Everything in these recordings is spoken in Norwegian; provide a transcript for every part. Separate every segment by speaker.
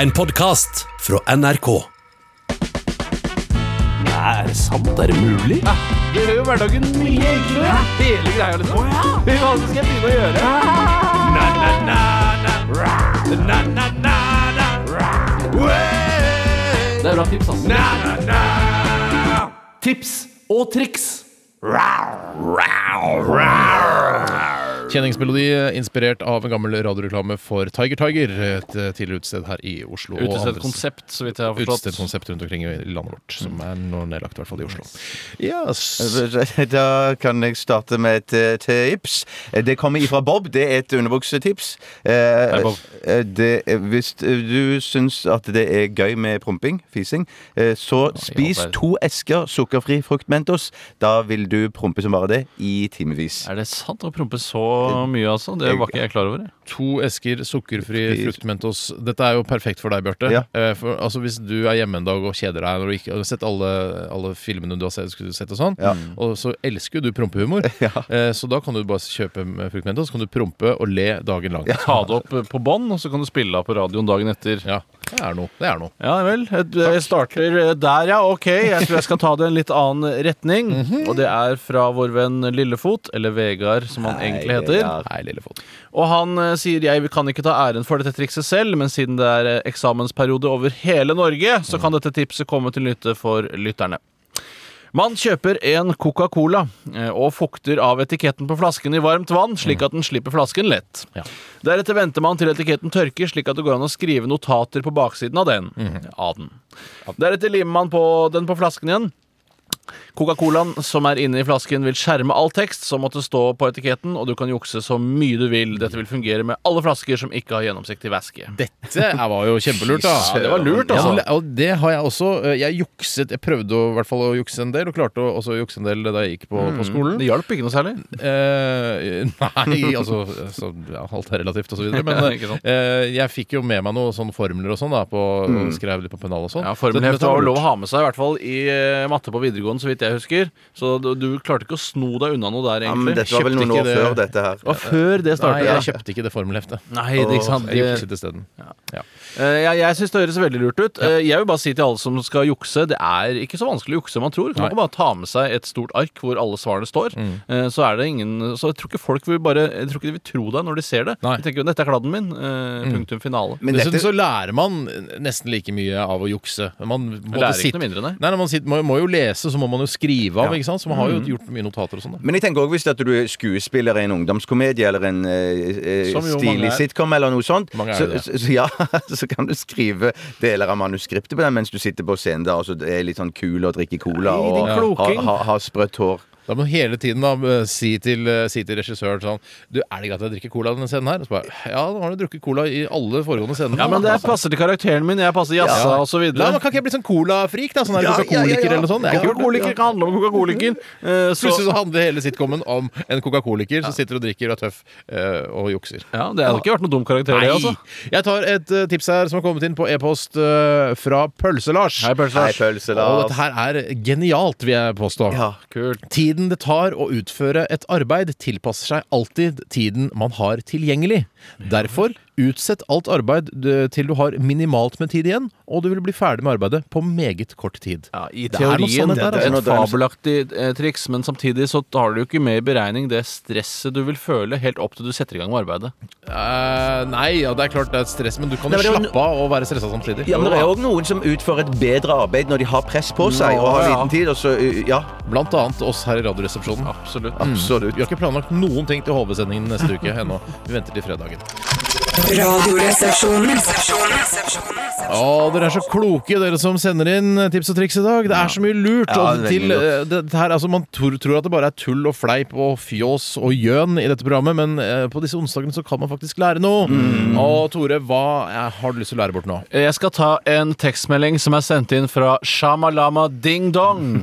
Speaker 1: En podkast fra NRK.
Speaker 2: Nei, er det sant? Er det mulig?
Speaker 3: Det gjør jo hverdagen mye enklere. Hele greia, liksom. Hva skal jeg begynne å gjøre? Det er bra tips, ass. Tips og triks.
Speaker 4: Kjenningsmelodi eh, inspirert av en gammel radioreklame for Tiger Tiger, et eh, tidligere utested her i Oslo. og
Speaker 3: Utestedt
Speaker 4: andre-
Speaker 3: konsept, så vidt jeg har forstått.
Speaker 4: Utestedkonsept rundt omkring i landet vårt, som er nå nedlagt, i hvert fall i Oslo. Yes.
Speaker 5: Da kan jeg starte med et eh, tips. Eh, Det kommer ifra Bob. Det er et underbuksetips. Eh,
Speaker 3: Bob.
Speaker 5: eh, det, er- hvis eh, du syns at det er gøy med promping, fising, eh, så spis
Speaker 3: verden.
Speaker 5: to esker sukkerfri fruktmentos. Da vil du prompe som bare det i timevis.
Speaker 3: Er det sant å prompe så mye, altså? Det var ikke jeg klar over.
Speaker 4: To esker sukkerfri fruktmentos. Dette er jo perfekt for deg, Bjarte.
Speaker 5: Ja.
Speaker 4: Eh, For, altså, hvis du er hjemme en dag og kjeder deg når du ikke har sett alle, alle filmene du har sett, skulle sett og sånn, og så elsker jo du prompehumor, Eh, så da kan du bare kjøpe med fruktmentos, så kan du prompe og le dagen lang.
Speaker 3: Ta det opp eh, på bånd, og så kan du spille av på radioen dagen etter.
Speaker 4: Ja, det er noe. Det er noe.
Speaker 3: Ja vel. Jeg- Jeg starter eh, der, ja. Ok, jeg tror jeg skal ta det i en litt annen retning.
Speaker 4: Mhm.
Speaker 3: Og det er fra vår venn Lillefot, eller Vegard, som han egentlig heter.
Speaker 4: Nei, Lillefot.
Speaker 3: Og han eh, sier jeg kan ikke ta æren for dette trikset selv, men siden det er eh, eksamensperiode over hele Norge, så kan dette tipset komme til nytte for lytterne. Man kjøper en Coca-Cola eh, og fukter av etiketten på flasken i varmt vann, slik at den slipper flasken lett.
Speaker 4: Mm. Ja.
Speaker 3: Deretter venter man til etiketten tørker, slik at det går an å skrive notater på baksiden av den. Av den. Deretter limer man på den på flasken igjen. Coca-Colaen som er inne i flasken, vil skjerme all tekst som måtte stå på etiketten, og du kan jukse så mye du vil. Dette vil fungere med alle flasker som ikke har gjennomsiktig væske.
Speaker 4: Dette er- var jo kjempelurt, da.
Speaker 3: Ja, det var lurt, altså.
Speaker 4: Ja, og det har jeg også. Eh, Jeg jukset, jeg prøvde å, i hvert fall å jukse en del, og klarte å- også å jukse en del da jeg gikk på,
Speaker 3: Mm.
Speaker 4: på skolen.
Speaker 3: Det hjalp ikke noe særlig.
Speaker 4: Eh, nei, altså så, ja, Alt er relativt, og så videre.
Speaker 3: Ja,
Speaker 4: Men
Speaker 3: ikke sant.
Speaker 4: eh, jeg fikk jo med meg noen sånne formler og sånn, da. På, og Skrev litt på pennal og sånn.
Speaker 3: Mm. Ja,
Speaker 4: Så
Speaker 3: Formelheftet
Speaker 4: dette
Speaker 3: var
Speaker 4: var
Speaker 3: lov å
Speaker 4: lurt.
Speaker 3: ha med seg, i hvert fall i eh, matte på videregående, så vidt jeg husker. Så du, du klarte ikke å sno deg unna noe der,
Speaker 5: Ja, men
Speaker 3: egentlig.
Speaker 5: dette var vel
Speaker 4: Kjøpte
Speaker 5: noen
Speaker 4: ikke
Speaker 5: år
Speaker 4: det.
Speaker 5: før dette her.
Speaker 3: det var før det
Speaker 4: Nei,
Speaker 3: startet.
Speaker 4: jeg
Speaker 3: ja.
Speaker 4: kjøpte ikke det formelheftet.
Speaker 3: Nei, det er ikke sant.
Speaker 4: Jeg
Speaker 3: Det-
Speaker 4: jukset isteden. Ja.
Speaker 3: Eh, Jeg, jeg syns det høres veldig lurt ut. Eh, Jeg vil bare si til alle som skal jukse, det er ikke så vanskelig å jukse som man tror. Man
Speaker 4: Nei.
Speaker 3: kan bare ta med seg et stort ark hvor alle svarene står. Eh, Så er det ingen Så jeg tror ikke folk vil bare Jeg tror ikke de vil tro deg når de ser det.
Speaker 4: Nei.
Speaker 3: De tenker jo 'dette er kladden min'. eh, Punktum finale.
Speaker 5: Men
Speaker 4: Dessuten
Speaker 5: dette,
Speaker 4: så lærer man nesten like mye av å jukse. Man måtte
Speaker 3: Lærer ikke
Speaker 4: sitte-
Speaker 3: noe mindre, nei.
Speaker 4: Nei, nei, man sitter, må, må jo lese, så må man jo skrive av. ikke sant? Så man
Speaker 3: Mm.
Speaker 4: har jo gjort mye notater og sånn. da.
Speaker 5: men jeg tenker også hvis at du er skuespiller i en ungdomskomedie eller en eh, eh,
Speaker 4: Som jo mange
Speaker 5: stilig
Speaker 4: er.
Speaker 5: sitcom eller noe sånt,
Speaker 4: Mange er
Speaker 5: så,
Speaker 4: det.
Speaker 5: så, så- ja, så kan du skrive deler av manuskriptet på den mens du sitter på scenen da, og så er litt sånn kul og drikker cola
Speaker 3: Nei, din
Speaker 5: og har
Speaker 3: kloking.
Speaker 5: ha, ha sprøtt hår.
Speaker 4: Da må du hele tiden da eh, si til, eh, si til regissøren sånn Du, er det greit at jeg drikker cola i denne scenen her? Og så bare Ja, nå har du drukket cola i alle foregående scener. Altså,
Speaker 3: Ja, altså. men det passer til karakteren min. Jeg passer jazza
Speaker 4: Ja.
Speaker 3: og så videre.
Speaker 4: La, man kan ikke jeg bli sånn colafrik, da? Sånn her
Speaker 5: Ja,
Speaker 4: coca-coliker
Speaker 5: ja, ja, ja.
Speaker 4: eller noe sånt. Det er kult.
Speaker 3: Coca-coliker kan handle om coca-coliker. Eh, så-
Speaker 4: Plutselig så handler hele sitcomen om en coca-coliker som sitter og drikker og er tøff eh, og jukser.
Speaker 3: Ja, Det hadde ikke vært noen dum karakter, det. altså
Speaker 4: Jeg tar et eh, tips her som har kommet inn på e-post eh, fra Pølse-Lars.
Speaker 3: Hei, Pølse
Speaker 5: Hei,
Speaker 3: Lars.
Speaker 5: pølse,
Speaker 4: Og
Speaker 5: Lars.
Speaker 4: dette her er genialt, vil jeg påstå.
Speaker 5: Ja.
Speaker 3: Kult.
Speaker 4: Tiden det tar å utføre et arbeid, tilpasser seg alltid tiden man har tilgjengelig. Derfor utsett alt arbeid eh, til du har minimalt med tid igjen, og du vil bli ferdig med arbeidet på meget kort tid.
Speaker 3: Ja, I
Speaker 4: Det er noe
Speaker 3: teorien
Speaker 4: sannhet
Speaker 3: det
Speaker 4: der,
Speaker 3: er
Speaker 5: altså.
Speaker 3: et fabelaktig eh, triks, men samtidig så tar du jo ikke med i beregning det stresset du vil føle helt opp til du setter i gang med arbeidet.
Speaker 4: Eh, nei, ja, det er klart det er et stress, men du kan jo
Speaker 5: Nei, men det
Speaker 4: slappe av og være stressa samtidig.
Speaker 5: Ja, men det er òg noen som utfører et bedre arbeid når de har press på seg og har
Speaker 3: ja.
Speaker 5: liten tid, og så eh, Ja,
Speaker 4: Blant annet oss her i Radioresepsjonen.
Speaker 3: Absolutt.
Speaker 5: Mm.
Speaker 4: Vi har ikke planlagt noen ting til HV-sendingen neste uke ennå. Vi venter til fredagen.
Speaker 6: Radioresepsjonen.
Speaker 4: Å, dere er så kloke, dere som sender inn eh, tips og triks i dag. Det er så mye lurt.
Speaker 5: Ja,
Speaker 4: og
Speaker 5: det er
Speaker 4: til,
Speaker 5: veldig lurt.
Speaker 4: eh, det, det her, altså, man tror, tror at det bare er tull og fleip og fjås og gjøn i dette programmet, men eh, på disse onsdagene så kan man faktisk lære noe.
Speaker 5: Mm.
Speaker 4: Og Tore, hva eh, har du lyst til å lære bort nå?
Speaker 3: Eh, Jeg skal ta en tekstmelding som er sendt inn fra Shamalama Ding Dong.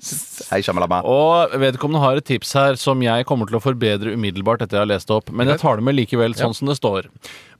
Speaker 5: hei, Shamalama.
Speaker 3: Og vedkommende har et tips her som jeg kommer til å forbedre umiddelbart etter jeg har lest det opp, men jeg tar det med likevel sånn som det står.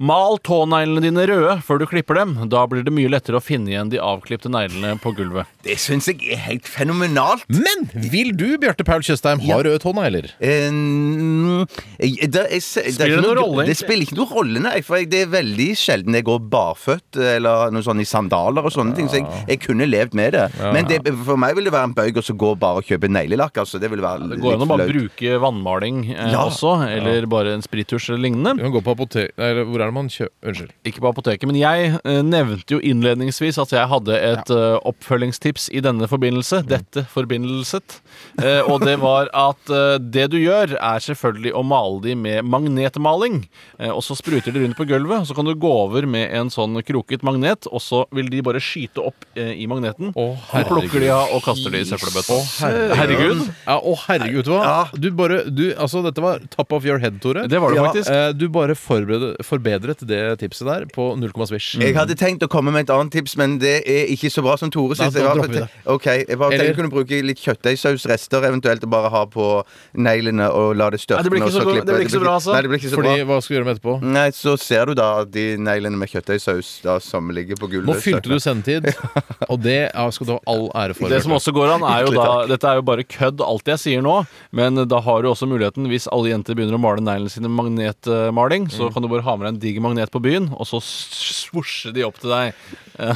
Speaker 3: Mal tåneglene dine røde før du klipper dem. Da blir det mye lettere å finne igjen de avklipte neglene på gulvet.
Speaker 5: Det syns jeg er helt fenomenalt.
Speaker 4: Men vil du, Bjarte Paul Tjøstheim, ha røde tånegler?
Speaker 5: Eh, mm, jeg- det- jeg- det er
Speaker 3: Spiller
Speaker 5: ikke
Speaker 3: det noen rolle,
Speaker 5: Det
Speaker 3: egentlig?
Speaker 5: spiller ikke noen rolle, nei. For jeg, det er veldig sjelden jeg går barføtt eller noe sånn i sandaler og sånne ting. Så jeg, jeg kunne levd med det. Men det, for meg vil det være en bøyg og så gå bare og kjøpe neglelakk. Altså, det vil være
Speaker 3: Det går an å
Speaker 5: litt
Speaker 3: bare
Speaker 5: flaut.
Speaker 3: bruke vannmaling eh,
Speaker 5: Ja.
Speaker 3: også, eller bare en sprittusj eller lignende.
Speaker 4: Du kan gå på apotek... Nei, eller hvor er det man kjøper Unnskyld.
Speaker 3: Ikke på apoteket, men jeg eh, nevnte jo innledningsvis at jeg hadde et eh, oppfølgingstips i denne
Speaker 4: Mm.
Speaker 3: forbindelse. Dette forbindelset. Eh, og det var at eh, det du gjør, er selvfølgelig å male de med magnetmaling. Eh, og så spruter de rundt på gulvet, og så kan du gå over med en sånn kroket magnet, og så vil de bare skyte opp eh, i magneten.
Speaker 4: Å,
Speaker 3: Du plukker de
Speaker 4: herregud.
Speaker 3: av og kaster de i søppelbøtta.
Speaker 4: herregud.
Speaker 3: herregud.
Speaker 4: Ja, å herregud, vet du hva?
Speaker 5: Ja.
Speaker 4: Du bare du, Altså, dette var top of your head, Tore.
Speaker 3: Det var det
Speaker 5: Ja,
Speaker 3: faktisk.
Speaker 4: Eh, Du bare forbedret, forbedret det tipset der på null komma svisj.
Speaker 5: Jeg hadde tenkt å komme med et annet tips, men det er ikke så bra som Tore
Speaker 4: Nei,
Speaker 5: sitt.
Speaker 4: da
Speaker 5: Jeg var-
Speaker 4: dropper vi det.
Speaker 5: Ok, jeg bare
Speaker 4: Eller-
Speaker 5: tenkte jeg kunne bruke litt kjøttdeigsausrester eventuelt og bare ha på neglene og la det størkne.
Speaker 3: Nei, det blir ikke
Speaker 5: og
Speaker 3: så go- det blir ikke så bra, altså.
Speaker 5: Nei, det blir ikke så
Speaker 4: Fordi,
Speaker 5: bra.
Speaker 4: hva skal vi gjøre med etterpå?
Speaker 5: Nei, så ser du da de neglene med kjøttdeigsaus da, som ligger på gulvet.
Speaker 4: Nå fylte du sendetid, og det ja, skal du ha all ære for.
Speaker 3: Det som
Speaker 4: Bjarte.
Speaker 3: også går an, er jo da
Speaker 5: Hjertelig
Speaker 3: Dette er jo bare kødd, alt jeg sier nå, men da har du også muligheten, hvis alle jenter begynner å male neglene sine med magnetmaling,
Speaker 4: Mm.
Speaker 3: så kan du bare ha med deg en diger magnet på byen, og så svosjer de opp til deg.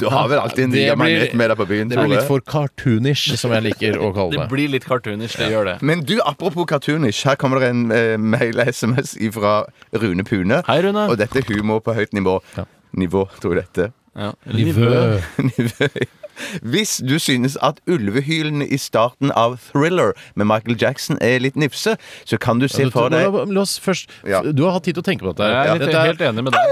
Speaker 5: Du har vel alltid en
Speaker 4: Det
Speaker 5: diger
Speaker 4: blir-
Speaker 5: magnet med deg på byen,
Speaker 4: Det blir
Speaker 5: Tore?
Speaker 4: litt for cartoonish, som jeg liker å
Speaker 3: Det
Speaker 4: kalle det.
Speaker 3: blir litt cartoonish, det gjør det.
Speaker 5: Men du, apropos cartoonish, her kommer det en eh, mail og SMS fra Rune Pune.
Speaker 3: Hei, Rune.
Speaker 5: Og dette er humor på høyt nivå. Nivå, tror jeg dette.
Speaker 3: Ja.
Speaker 4: Nivø.
Speaker 5: Nivå. Hvis du synes at ulvehylene i starten av Thriller med Michael Jackson er litt nifse, så kan du se
Speaker 4: Du, la,
Speaker 5: for deg
Speaker 4: la oss først
Speaker 5: Ja.
Speaker 4: Du har hatt tid til å tenke på dette. her.
Speaker 3: Jeg er litt,
Speaker 4: Dette er-
Speaker 3: helt enig med deg.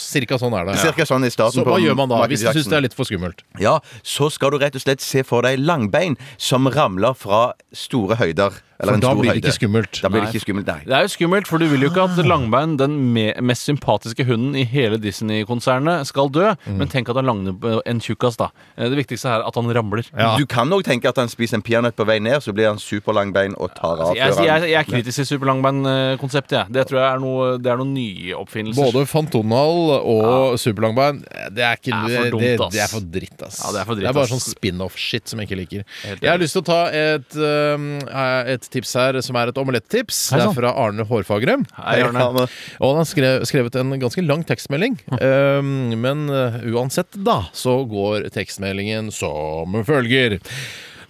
Speaker 4: Cirka sånn er det.
Speaker 5: Cirka sånn i starten.
Speaker 4: Så hva
Speaker 5: på
Speaker 4: gjør man da,
Speaker 5: Michael
Speaker 4: hvis du syns
Speaker 5: Jackson.
Speaker 4: det er litt for skummelt?
Speaker 5: Ja, så skal du rett og slett se for deg langbein som ramler fra store høyder.
Speaker 4: For
Speaker 5: en
Speaker 4: da
Speaker 5: stor
Speaker 4: blir det ikke
Speaker 5: høyde.
Speaker 4: skummelt.
Speaker 5: Da blir
Speaker 3: Nei.
Speaker 5: det ikke skummelt, nei.
Speaker 3: Det er jo skummelt, for du vil jo ikke at Langbein, den me mest sympatiske hunden i hele Disney-konsernet, skal dø.
Speaker 4: Mm.
Speaker 3: Men tenk at han langer en tjukkas, da. Eh, Det viktigste er at han ramler.
Speaker 4: Ja.
Speaker 5: Du kan nok tenke at han spiser en peanøtt på vei ned, så blir han superlangbein og tar av
Speaker 3: Altså, Jeg,
Speaker 5: før han
Speaker 3: jeg, jeg er kritisk til superlangband-konseptet. jeg. Det tror jeg er noe, det er noen nye oppfinnelser.
Speaker 4: Både Fantonal og Superlangband Det er, ikke,
Speaker 3: Det
Speaker 4: det,
Speaker 3: er for dumt,
Speaker 4: det,
Speaker 3: ass.
Speaker 4: er for dritt, ass.
Speaker 3: Ja, det er for dritt,
Speaker 4: bare
Speaker 3: ass.
Speaker 4: sånn spin-off-shit som jeg ikke liker.
Speaker 3: Helt
Speaker 4: Jeg har lyst til å ta et, um, et tips her som er et omelettips. Det
Speaker 3: sann.
Speaker 4: er fra Arne Hårfagrem.
Speaker 3: sånn. Hei, Arne. Mm.
Speaker 5: Arne.
Speaker 4: Og han har skrev, skrevet en ganske lang tekstmelding. Um, men uh, uansett, da, så går tekstmeldingen som følger.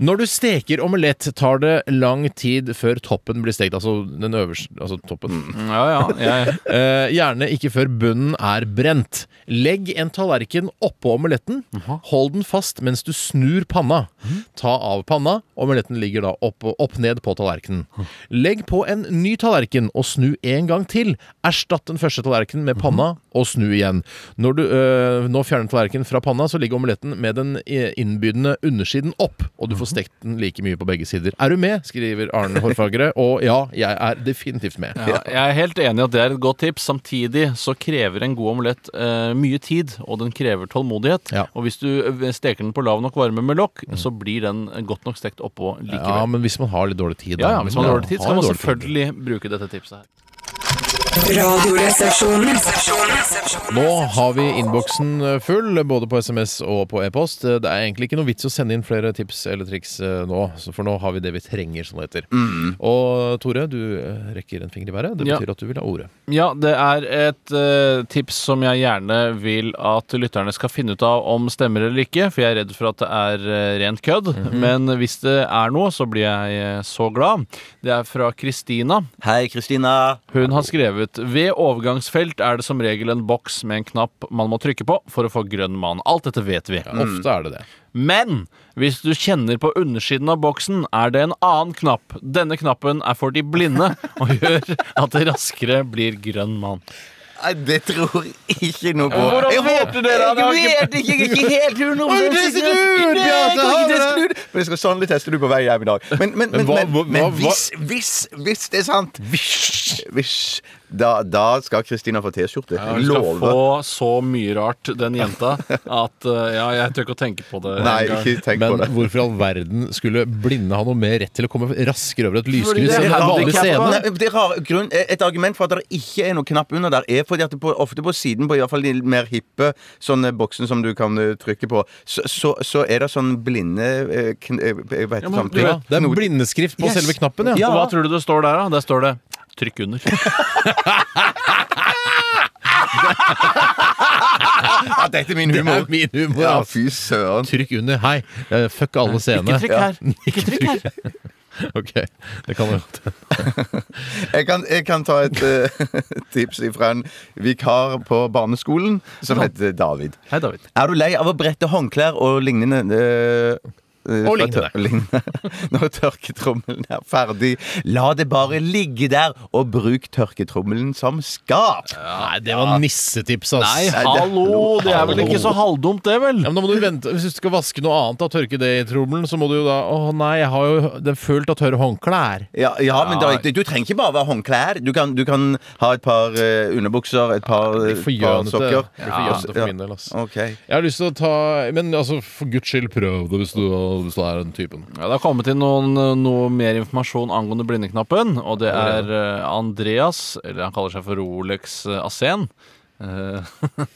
Speaker 4: Når du steker omelett, tar det lang tid før toppen blir stekt. Altså den øverste Altså toppen.
Speaker 3: Mm, Ja, ja. Jeg,
Speaker 4: Eh, gjerne ikke før bunnen er brent. Legg en tallerken oppå omeletten. Hold den fast mens du snur panna. Ta av panna. Omeletten ligger da opp, opp ned på tallerkenen. Legg på en ny tallerken og snu en gang til. Erstatt den første tallerkenen med panna og snu igjen. Når du eh, nå fjerner tallerkenen fra panna, så ligger omeletten med den i- innbydende undersiden opp, og du får stekt den like mye på begge sider. Er du med? skriver Arne Hårfagre. Og ja, jeg er definitivt med.
Speaker 3: ja, jeg er helt enig i at det er et godt tips. Samtidig så krever en god omelett eh, mye tid, og den krever tålmodighet.
Speaker 4: Ja.
Speaker 3: Og hvis du eh, steker den på lav nok varme med lokk, så blir den godt nok stekt oppå
Speaker 4: Ja,
Speaker 3: likevel.
Speaker 4: men hvis man har litt dårlig tid,
Speaker 3: Ja, ja, Hvis man har dårlig tid, skal man
Speaker 4: dårlig tid.
Speaker 3: selvfølgelig bruke dette tipset her.
Speaker 6: Radioresepsjonen.
Speaker 4: Nå har vi innboksen eh, full, både på SMS og på e-post. Eh, Det er egentlig ikke noe vits å sende inn flere tips eller triks eh, nå, så for nå har vi det vi trenger, som det heter. Og Tore, du eh, rekker en finger i været. Det
Speaker 3: Mm. Ja.
Speaker 4: betyr at du vil ha ordet.
Speaker 3: Ja, det er et eh, tips som jeg gjerne vil at lytterne skal finne ut av om stemmer eller ikke, for jeg er redd for at det er eh, rent kødd. Men hvis det er noe, så blir jeg eh, så glad. Det er fra Kristina.
Speaker 5: Hei, Kristina.
Speaker 3: Hun har skrevet Ved overgangsfelt er det som regel en boks med en knapp man må trykke på for å få grønn mann. Alt dette vet vi.
Speaker 4: Ofte er det det.
Speaker 3: Men hvis du kjenner på undersiden av boksen, er det en annen knapp. Denne knappen er for de blinde og gjør at det raskere blir grønn mann.
Speaker 5: Nei, det tror jeg ikke noe på.
Speaker 3: Hvordan
Speaker 5: Jeg
Speaker 3: vet du det, da?
Speaker 5: Jeg vet ikke, jeg er ikke helt hundre
Speaker 4: Har du testet ut,
Speaker 5: Nei,
Speaker 4: Bjarte?
Speaker 5: jeg kan
Speaker 4: Har
Speaker 5: ikke
Speaker 4: du
Speaker 5: teste ut. Men jeg skal sannelig teste det ut på vei hjem i dag. Men, men, men,
Speaker 4: hva-
Speaker 5: men,
Speaker 4: hva-
Speaker 5: men
Speaker 4: hva-
Speaker 5: hvis, hvis, hvis det er sant Hvis, Da, da skal Kristina få T-skjorte.
Speaker 3: Ja, Hun skal
Speaker 5: Love.
Speaker 3: få så mye rart, den jenta, at eh, ja, jeg tør ikke å tenke på det.
Speaker 5: Nei,
Speaker 3: engang.
Speaker 5: ikke tenk på
Speaker 4: Men
Speaker 5: det.
Speaker 4: hvorfor i all verden skulle blinde ha noe mer rett til å komme raskere over et
Speaker 3: Fordi
Speaker 4: lyskryss
Speaker 3: det er
Speaker 4: enn en
Speaker 3: handicap,
Speaker 4: vanlig
Speaker 3: hva?
Speaker 4: scene?
Speaker 5: Nei, det er rar, grunn, et argument for at det ikke er noen knapp under der, er fordi at det på, ofte på siden på i hvert fall de mer hippe sånne boksen som du kan eh, trykke på, så, så, så er det sånn blinde eh, kn, eh, Hva heter
Speaker 3: Ja, men
Speaker 5: sånn?
Speaker 3: du
Speaker 4: Ja, det er
Speaker 5: Knot-
Speaker 4: blindeskrift på
Speaker 5: Yes.
Speaker 4: selve knappen, ja.
Speaker 5: Ja.
Speaker 3: Og hva tror du det står der, da? Der står det 'trykk under'.
Speaker 5: Ah, dette er min
Speaker 4: Det
Speaker 5: humor!
Speaker 4: er min humor. altså.
Speaker 5: Ja,
Speaker 4: ass.
Speaker 5: fy søren.
Speaker 4: Trykk under. Hei, eh, fuck alle scenene.
Speaker 3: Ikke trykk her. Ikke trykk her.
Speaker 4: Ok, det kan jo
Speaker 5: Jeg kan, jeg kan ta et eh, tips fra en vikar på barneskolen som heter David.
Speaker 3: Hei, David.
Speaker 5: Er du lei av å brette håndklær og lignende? eh, eh,
Speaker 4: Og
Speaker 5: fra
Speaker 4: lignende.
Speaker 5: tør- Når tørketrommelen er ferdig, la det bare ligge der, og bruk tørketrommelen som skap!
Speaker 4: Nei, det var nissetips, ass.
Speaker 3: Nei,
Speaker 5: det-
Speaker 3: hallo! Det er vel ikke så halvdumt, det, vel?
Speaker 4: Ja, men da må du vente Hvis du skal vaske noe annet og tørke det i trommelen, så må du jo da Å nei, jeg har jo den fullt av tørre håndklær.
Speaker 5: Ja, ja men
Speaker 3: Ja.
Speaker 5: da- du trenger ikke bare være håndklær. Du kan, du kan ha et par eh, underbukser, et par, eh,
Speaker 4: Blir for
Speaker 5: par
Speaker 4: gjønete. Blir
Speaker 5: sokker.
Speaker 4: for
Speaker 5: Ja.
Speaker 4: gjønete for min del, ass.
Speaker 5: Ok.
Speaker 4: Jeg har lyst til å ta Men altså, for guds skyld, prøv det hvis du, hvis du er den typen.
Speaker 3: Ja, det har kommet inn noen, noe mer informasjon angående blindeknappen. Og det er eh, Andreas, eller han kaller seg for Rolex eh, Asen. Eh,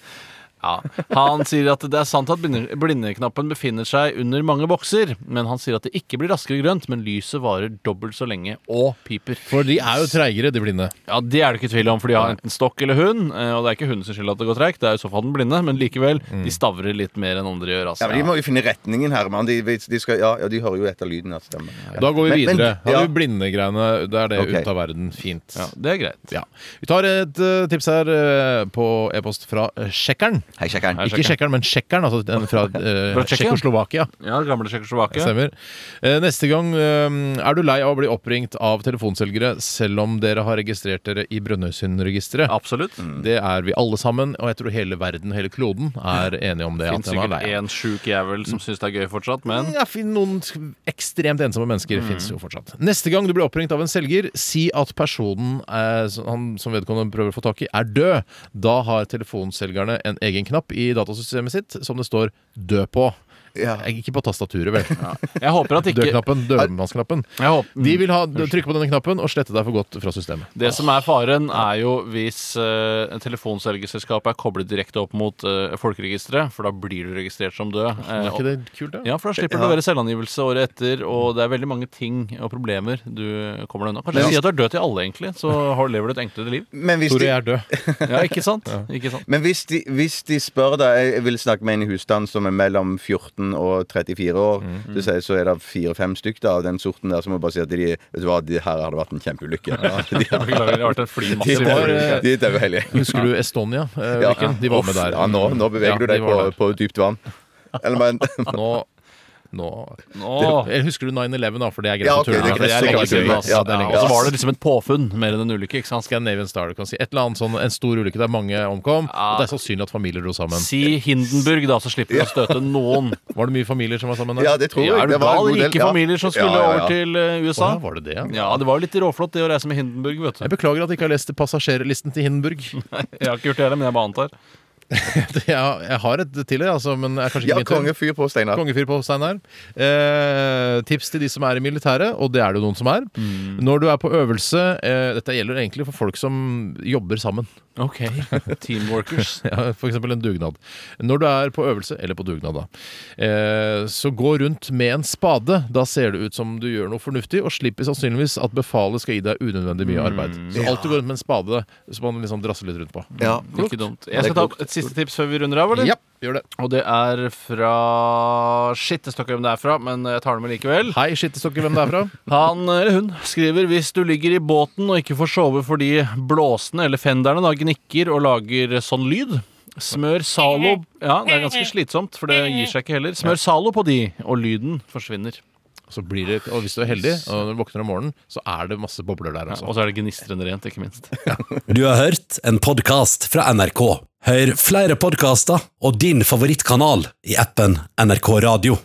Speaker 3: ja. Han sier at det er sant at blinde- blindeknappen befinner seg under mange bokser. Men han sier at det ikke blir raskere grønt, men lyset varer dobbelt så lenge og piper.
Speaker 4: For de er jo treigere, de blinde.
Speaker 3: Ja, Det er det ikke tvil om, for de har enten stokk eller hund. eh, Og det er ikke hunden sin skyld at det går treigt, det er i så fall den blinde, men likevel. De stavrer litt mer enn andre gjør.
Speaker 5: Ja,
Speaker 3: Altså.
Speaker 5: men De må jo finne retningen her, mann. De, de, skal- ja, ja, de hører jo etter lyden av stemmen. Ja.
Speaker 4: Da går vi
Speaker 5: Men- men-
Speaker 4: videre. Har
Speaker 5: ja.
Speaker 4: du blindegreiene, da er det
Speaker 5: Ok.
Speaker 4: ut av verden. Fint.
Speaker 3: Ja, det er greit.
Speaker 4: Ja. Vi tar et eh, tips her eh, på e-post fra eh, Sjekkeren.
Speaker 5: Hei, sjekkeren.
Speaker 4: Ikke Sjekkeren, men Sjekkeren, altså den fra eh,
Speaker 3: Fra Tsjekkia?
Speaker 4: Tsjekkoslovakia.
Speaker 3: Ja, Gamle Tsjekkoslovakia.
Speaker 4: Stemmer. Eh, Neste gang eh, er du lei av å bli oppringt av telefonselgere selv om dere har registrert dere i Brønnøysundregisteret.
Speaker 3: Absolutt.
Speaker 4: Det er vi alle sammen, og jeg tror hele verden, hele kloden, er enige om det.
Speaker 3: Fins
Speaker 4: at den er
Speaker 3: sikkert
Speaker 4: lei av.
Speaker 3: én sjuk jævel som syns det er gøy fortsatt, men
Speaker 4: Ja, fin- noen ekstremt ensomme
Speaker 5: Mm.
Speaker 4: mennesker finnes jo fortsatt. Neste gang du blir oppringt av en selger, si at personen eh, som- han, som vedkommende prøver å få tak i, er død. Da har telefonselgerne en egen knapp i datasystemet sitt som det står 'død' på. Eh,
Speaker 5: Ja.
Speaker 4: Ikke på tastaturet, vel.
Speaker 3: jeg håper at ikke
Speaker 4: Dødknappen, dødmannsknappen.
Speaker 5: Mm.
Speaker 3: jeg håper,
Speaker 4: De vil ha, trykke på denne knappen og slette deg for godt fra systemet.
Speaker 3: Mm. Det som er faren, er jo hvis uh, telefonselgerselskapet er koblet direkte opp mot eh, folkeregisteret, for da blir du registrert som død. eh,
Speaker 4: Er ikke det kult,
Speaker 3: og-
Speaker 4: da?
Speaker 3: ja, for da slipper du å være selvangivelse året etter, og det er veldig mange ting og problemer du kommer deg unna. Kanskje
Speaker 5: Men-
Speaker 3: si at du er død til alle, egentlig, så har, lever du et enklere liv.
Speaker 5: Men hvis
Speaker 4: Tore,
Speaker 5: de,
Speaker 4: jeg er død.
Speaker 3: Ja, ikke sant? Ikke sant?
Speaker 5: men hvis de, hvis de spør da Jeg jeg vil snakke med en i husstand som er mellom 14 og 34 år.
Speaker 4: Mm.
Speaker 5: Så, sier, jeg- så er det fire-fem stykk da, av den sorten der som må bare si at de, vet du hva, de her har det vært en kjempeulykke. De,
Speaker 3: Jeg Beklager, det har vært en flymassiv
Speaker 4: Det var, eh,
Speaker 3: ulykke.
Speaker 5: de er døde hele gjengen.
Speaker 4: Husker du Estonia? Eh,
Speaker 5: Ja.
Speaker 4: Viken? De var med
Speaker 5: Uff,
Speaker 4: der.
Speaker 5: Ja, nå, nå beveger
Speaker 4: Ja,
Speaker 5: du deg
Speaker 4: de var
Speaker 5: på,
Speaker 4: der.
Speaker 5: på dypt vann. Eller men
Speaker 4: Nå, nå.
Speaker 3: Åh.
Speaker 4: Eller husker du 9-11, da? For det er greit
Speaker 5: Ja,
Speaker 4: å
Speaker 5: ok,
Speaker 4: tulle
Speaker 5: det
Speaker 4: med.
Speaker 3: Ja, for det er
Speaker 5: er
Speaker 3: lenge
Speaker 5: greit. Det er
Speaker 3: siden,
Speaker 5: gøy.
Speaker 3: altså.
Speaker 5: Ja, det er
Speaker 3: Ja,
Speaker 5: lenge
Speaker 3: Og så
Speaker 5: siden.
Speaker 3: var det liksom et påfunn mer enn en ulykke. ikke sant?
Speaker 4: Scandinavian Star, du kan si. Et eller annet sånn, En stor ulykke der mange omkom. Og det er sannsynlig at familier dro sammen.
Speaker 3: Si Hindenburg, da, så slipper du å støte noen.
Speaker 4: Var det mye familier som var sammen der?
Speaker 5: Ja, det tror jeg.
Speaker 3: Ja, er du
Speaker 5: Det var en
Speaker 3: gal?
Speaker 5: god del-
Speaker 3: Rike
Speaker 5: ja.
Speaker 3: familier som skulle
Speaker 5: Ja, ja, ja.
Speaker 3: over til eh,
Speaker 4: Å,
Speaker 3: USA.
Speaker 4: ja, var det det? Ja?
Speaker 3: Ja, det var jo litt råflott det å reise med Hindenburg, vet
Speaker 4: Jeg
Speaker 3: du.
Speaker 4: beklager at jeg ikke har lest passasjerlisten til Hindenburg.
Speaker 3: Jeg har ikke gjort det heller, men jeg bare antar.
Speaker 4: Jeg, jeg har et til, jeg, altså, men jeg er kanskje ikke
Speaker 5: Ja,
Speaker 4: min tur.
Speaker 5: konge fyr på, Steinar.
Speaker 4: Kongefyr på Steinar. Eh, tips til de som er i militæret, og det er det jo noen som er.
Speaker 5: Mm.
Speaker 4: Når du er på øvelse eh, Dette gjelder egentlig for folk som jobber sammen.
Speaker 3: Ok, Teamworkers.
Speaker 4: Ja, F.eks. en dugnad. Når du er på øvelse, eller på dugnad, da, eh, så gå rundt med en spade. Da ser det ut som du gjør noe fornuftig, og slipper sannsynligvis at befalet skal gi deg unødvendig mye arbeid. Så alltid gå rundt med en spade som man liksom drasser litt rundt på.
Speaker 5: Ja.
Speaker 3: Ikke dumt. Jeg skal ta et siste tips før vi runder av, eller?
Speaker 4: Ja, gjør det.
Speaker 3: Og det er fra Shit, jeg snakker ikke hvem det er fra, men jeg tar det med likevel.
Speaker 4: Hei, skittestokker, hvem det er fra?
Speaker 3: Han eller hun skriver hvis du ligger i båten og ikke får sove fordi blåsene eller fenderne da gnikker og lager sånn lyd. Smør Zalo Ja, det er ganske slitsomt, for det gir seg ikke heller. Smør Zalo på de, og lyden forsvinner.
Speaker 4: Så blir det, og hvis du er heldig, og når du våkner om morgenen, så er det masse bobler der. Altså.
Speaker 3: Og så er det gnistrende rent, ikke minst.
Speaker 1: Du har hørt en podcast fra NRK. Hør flere podcaster og din favorittkanal i appen NRK Radio.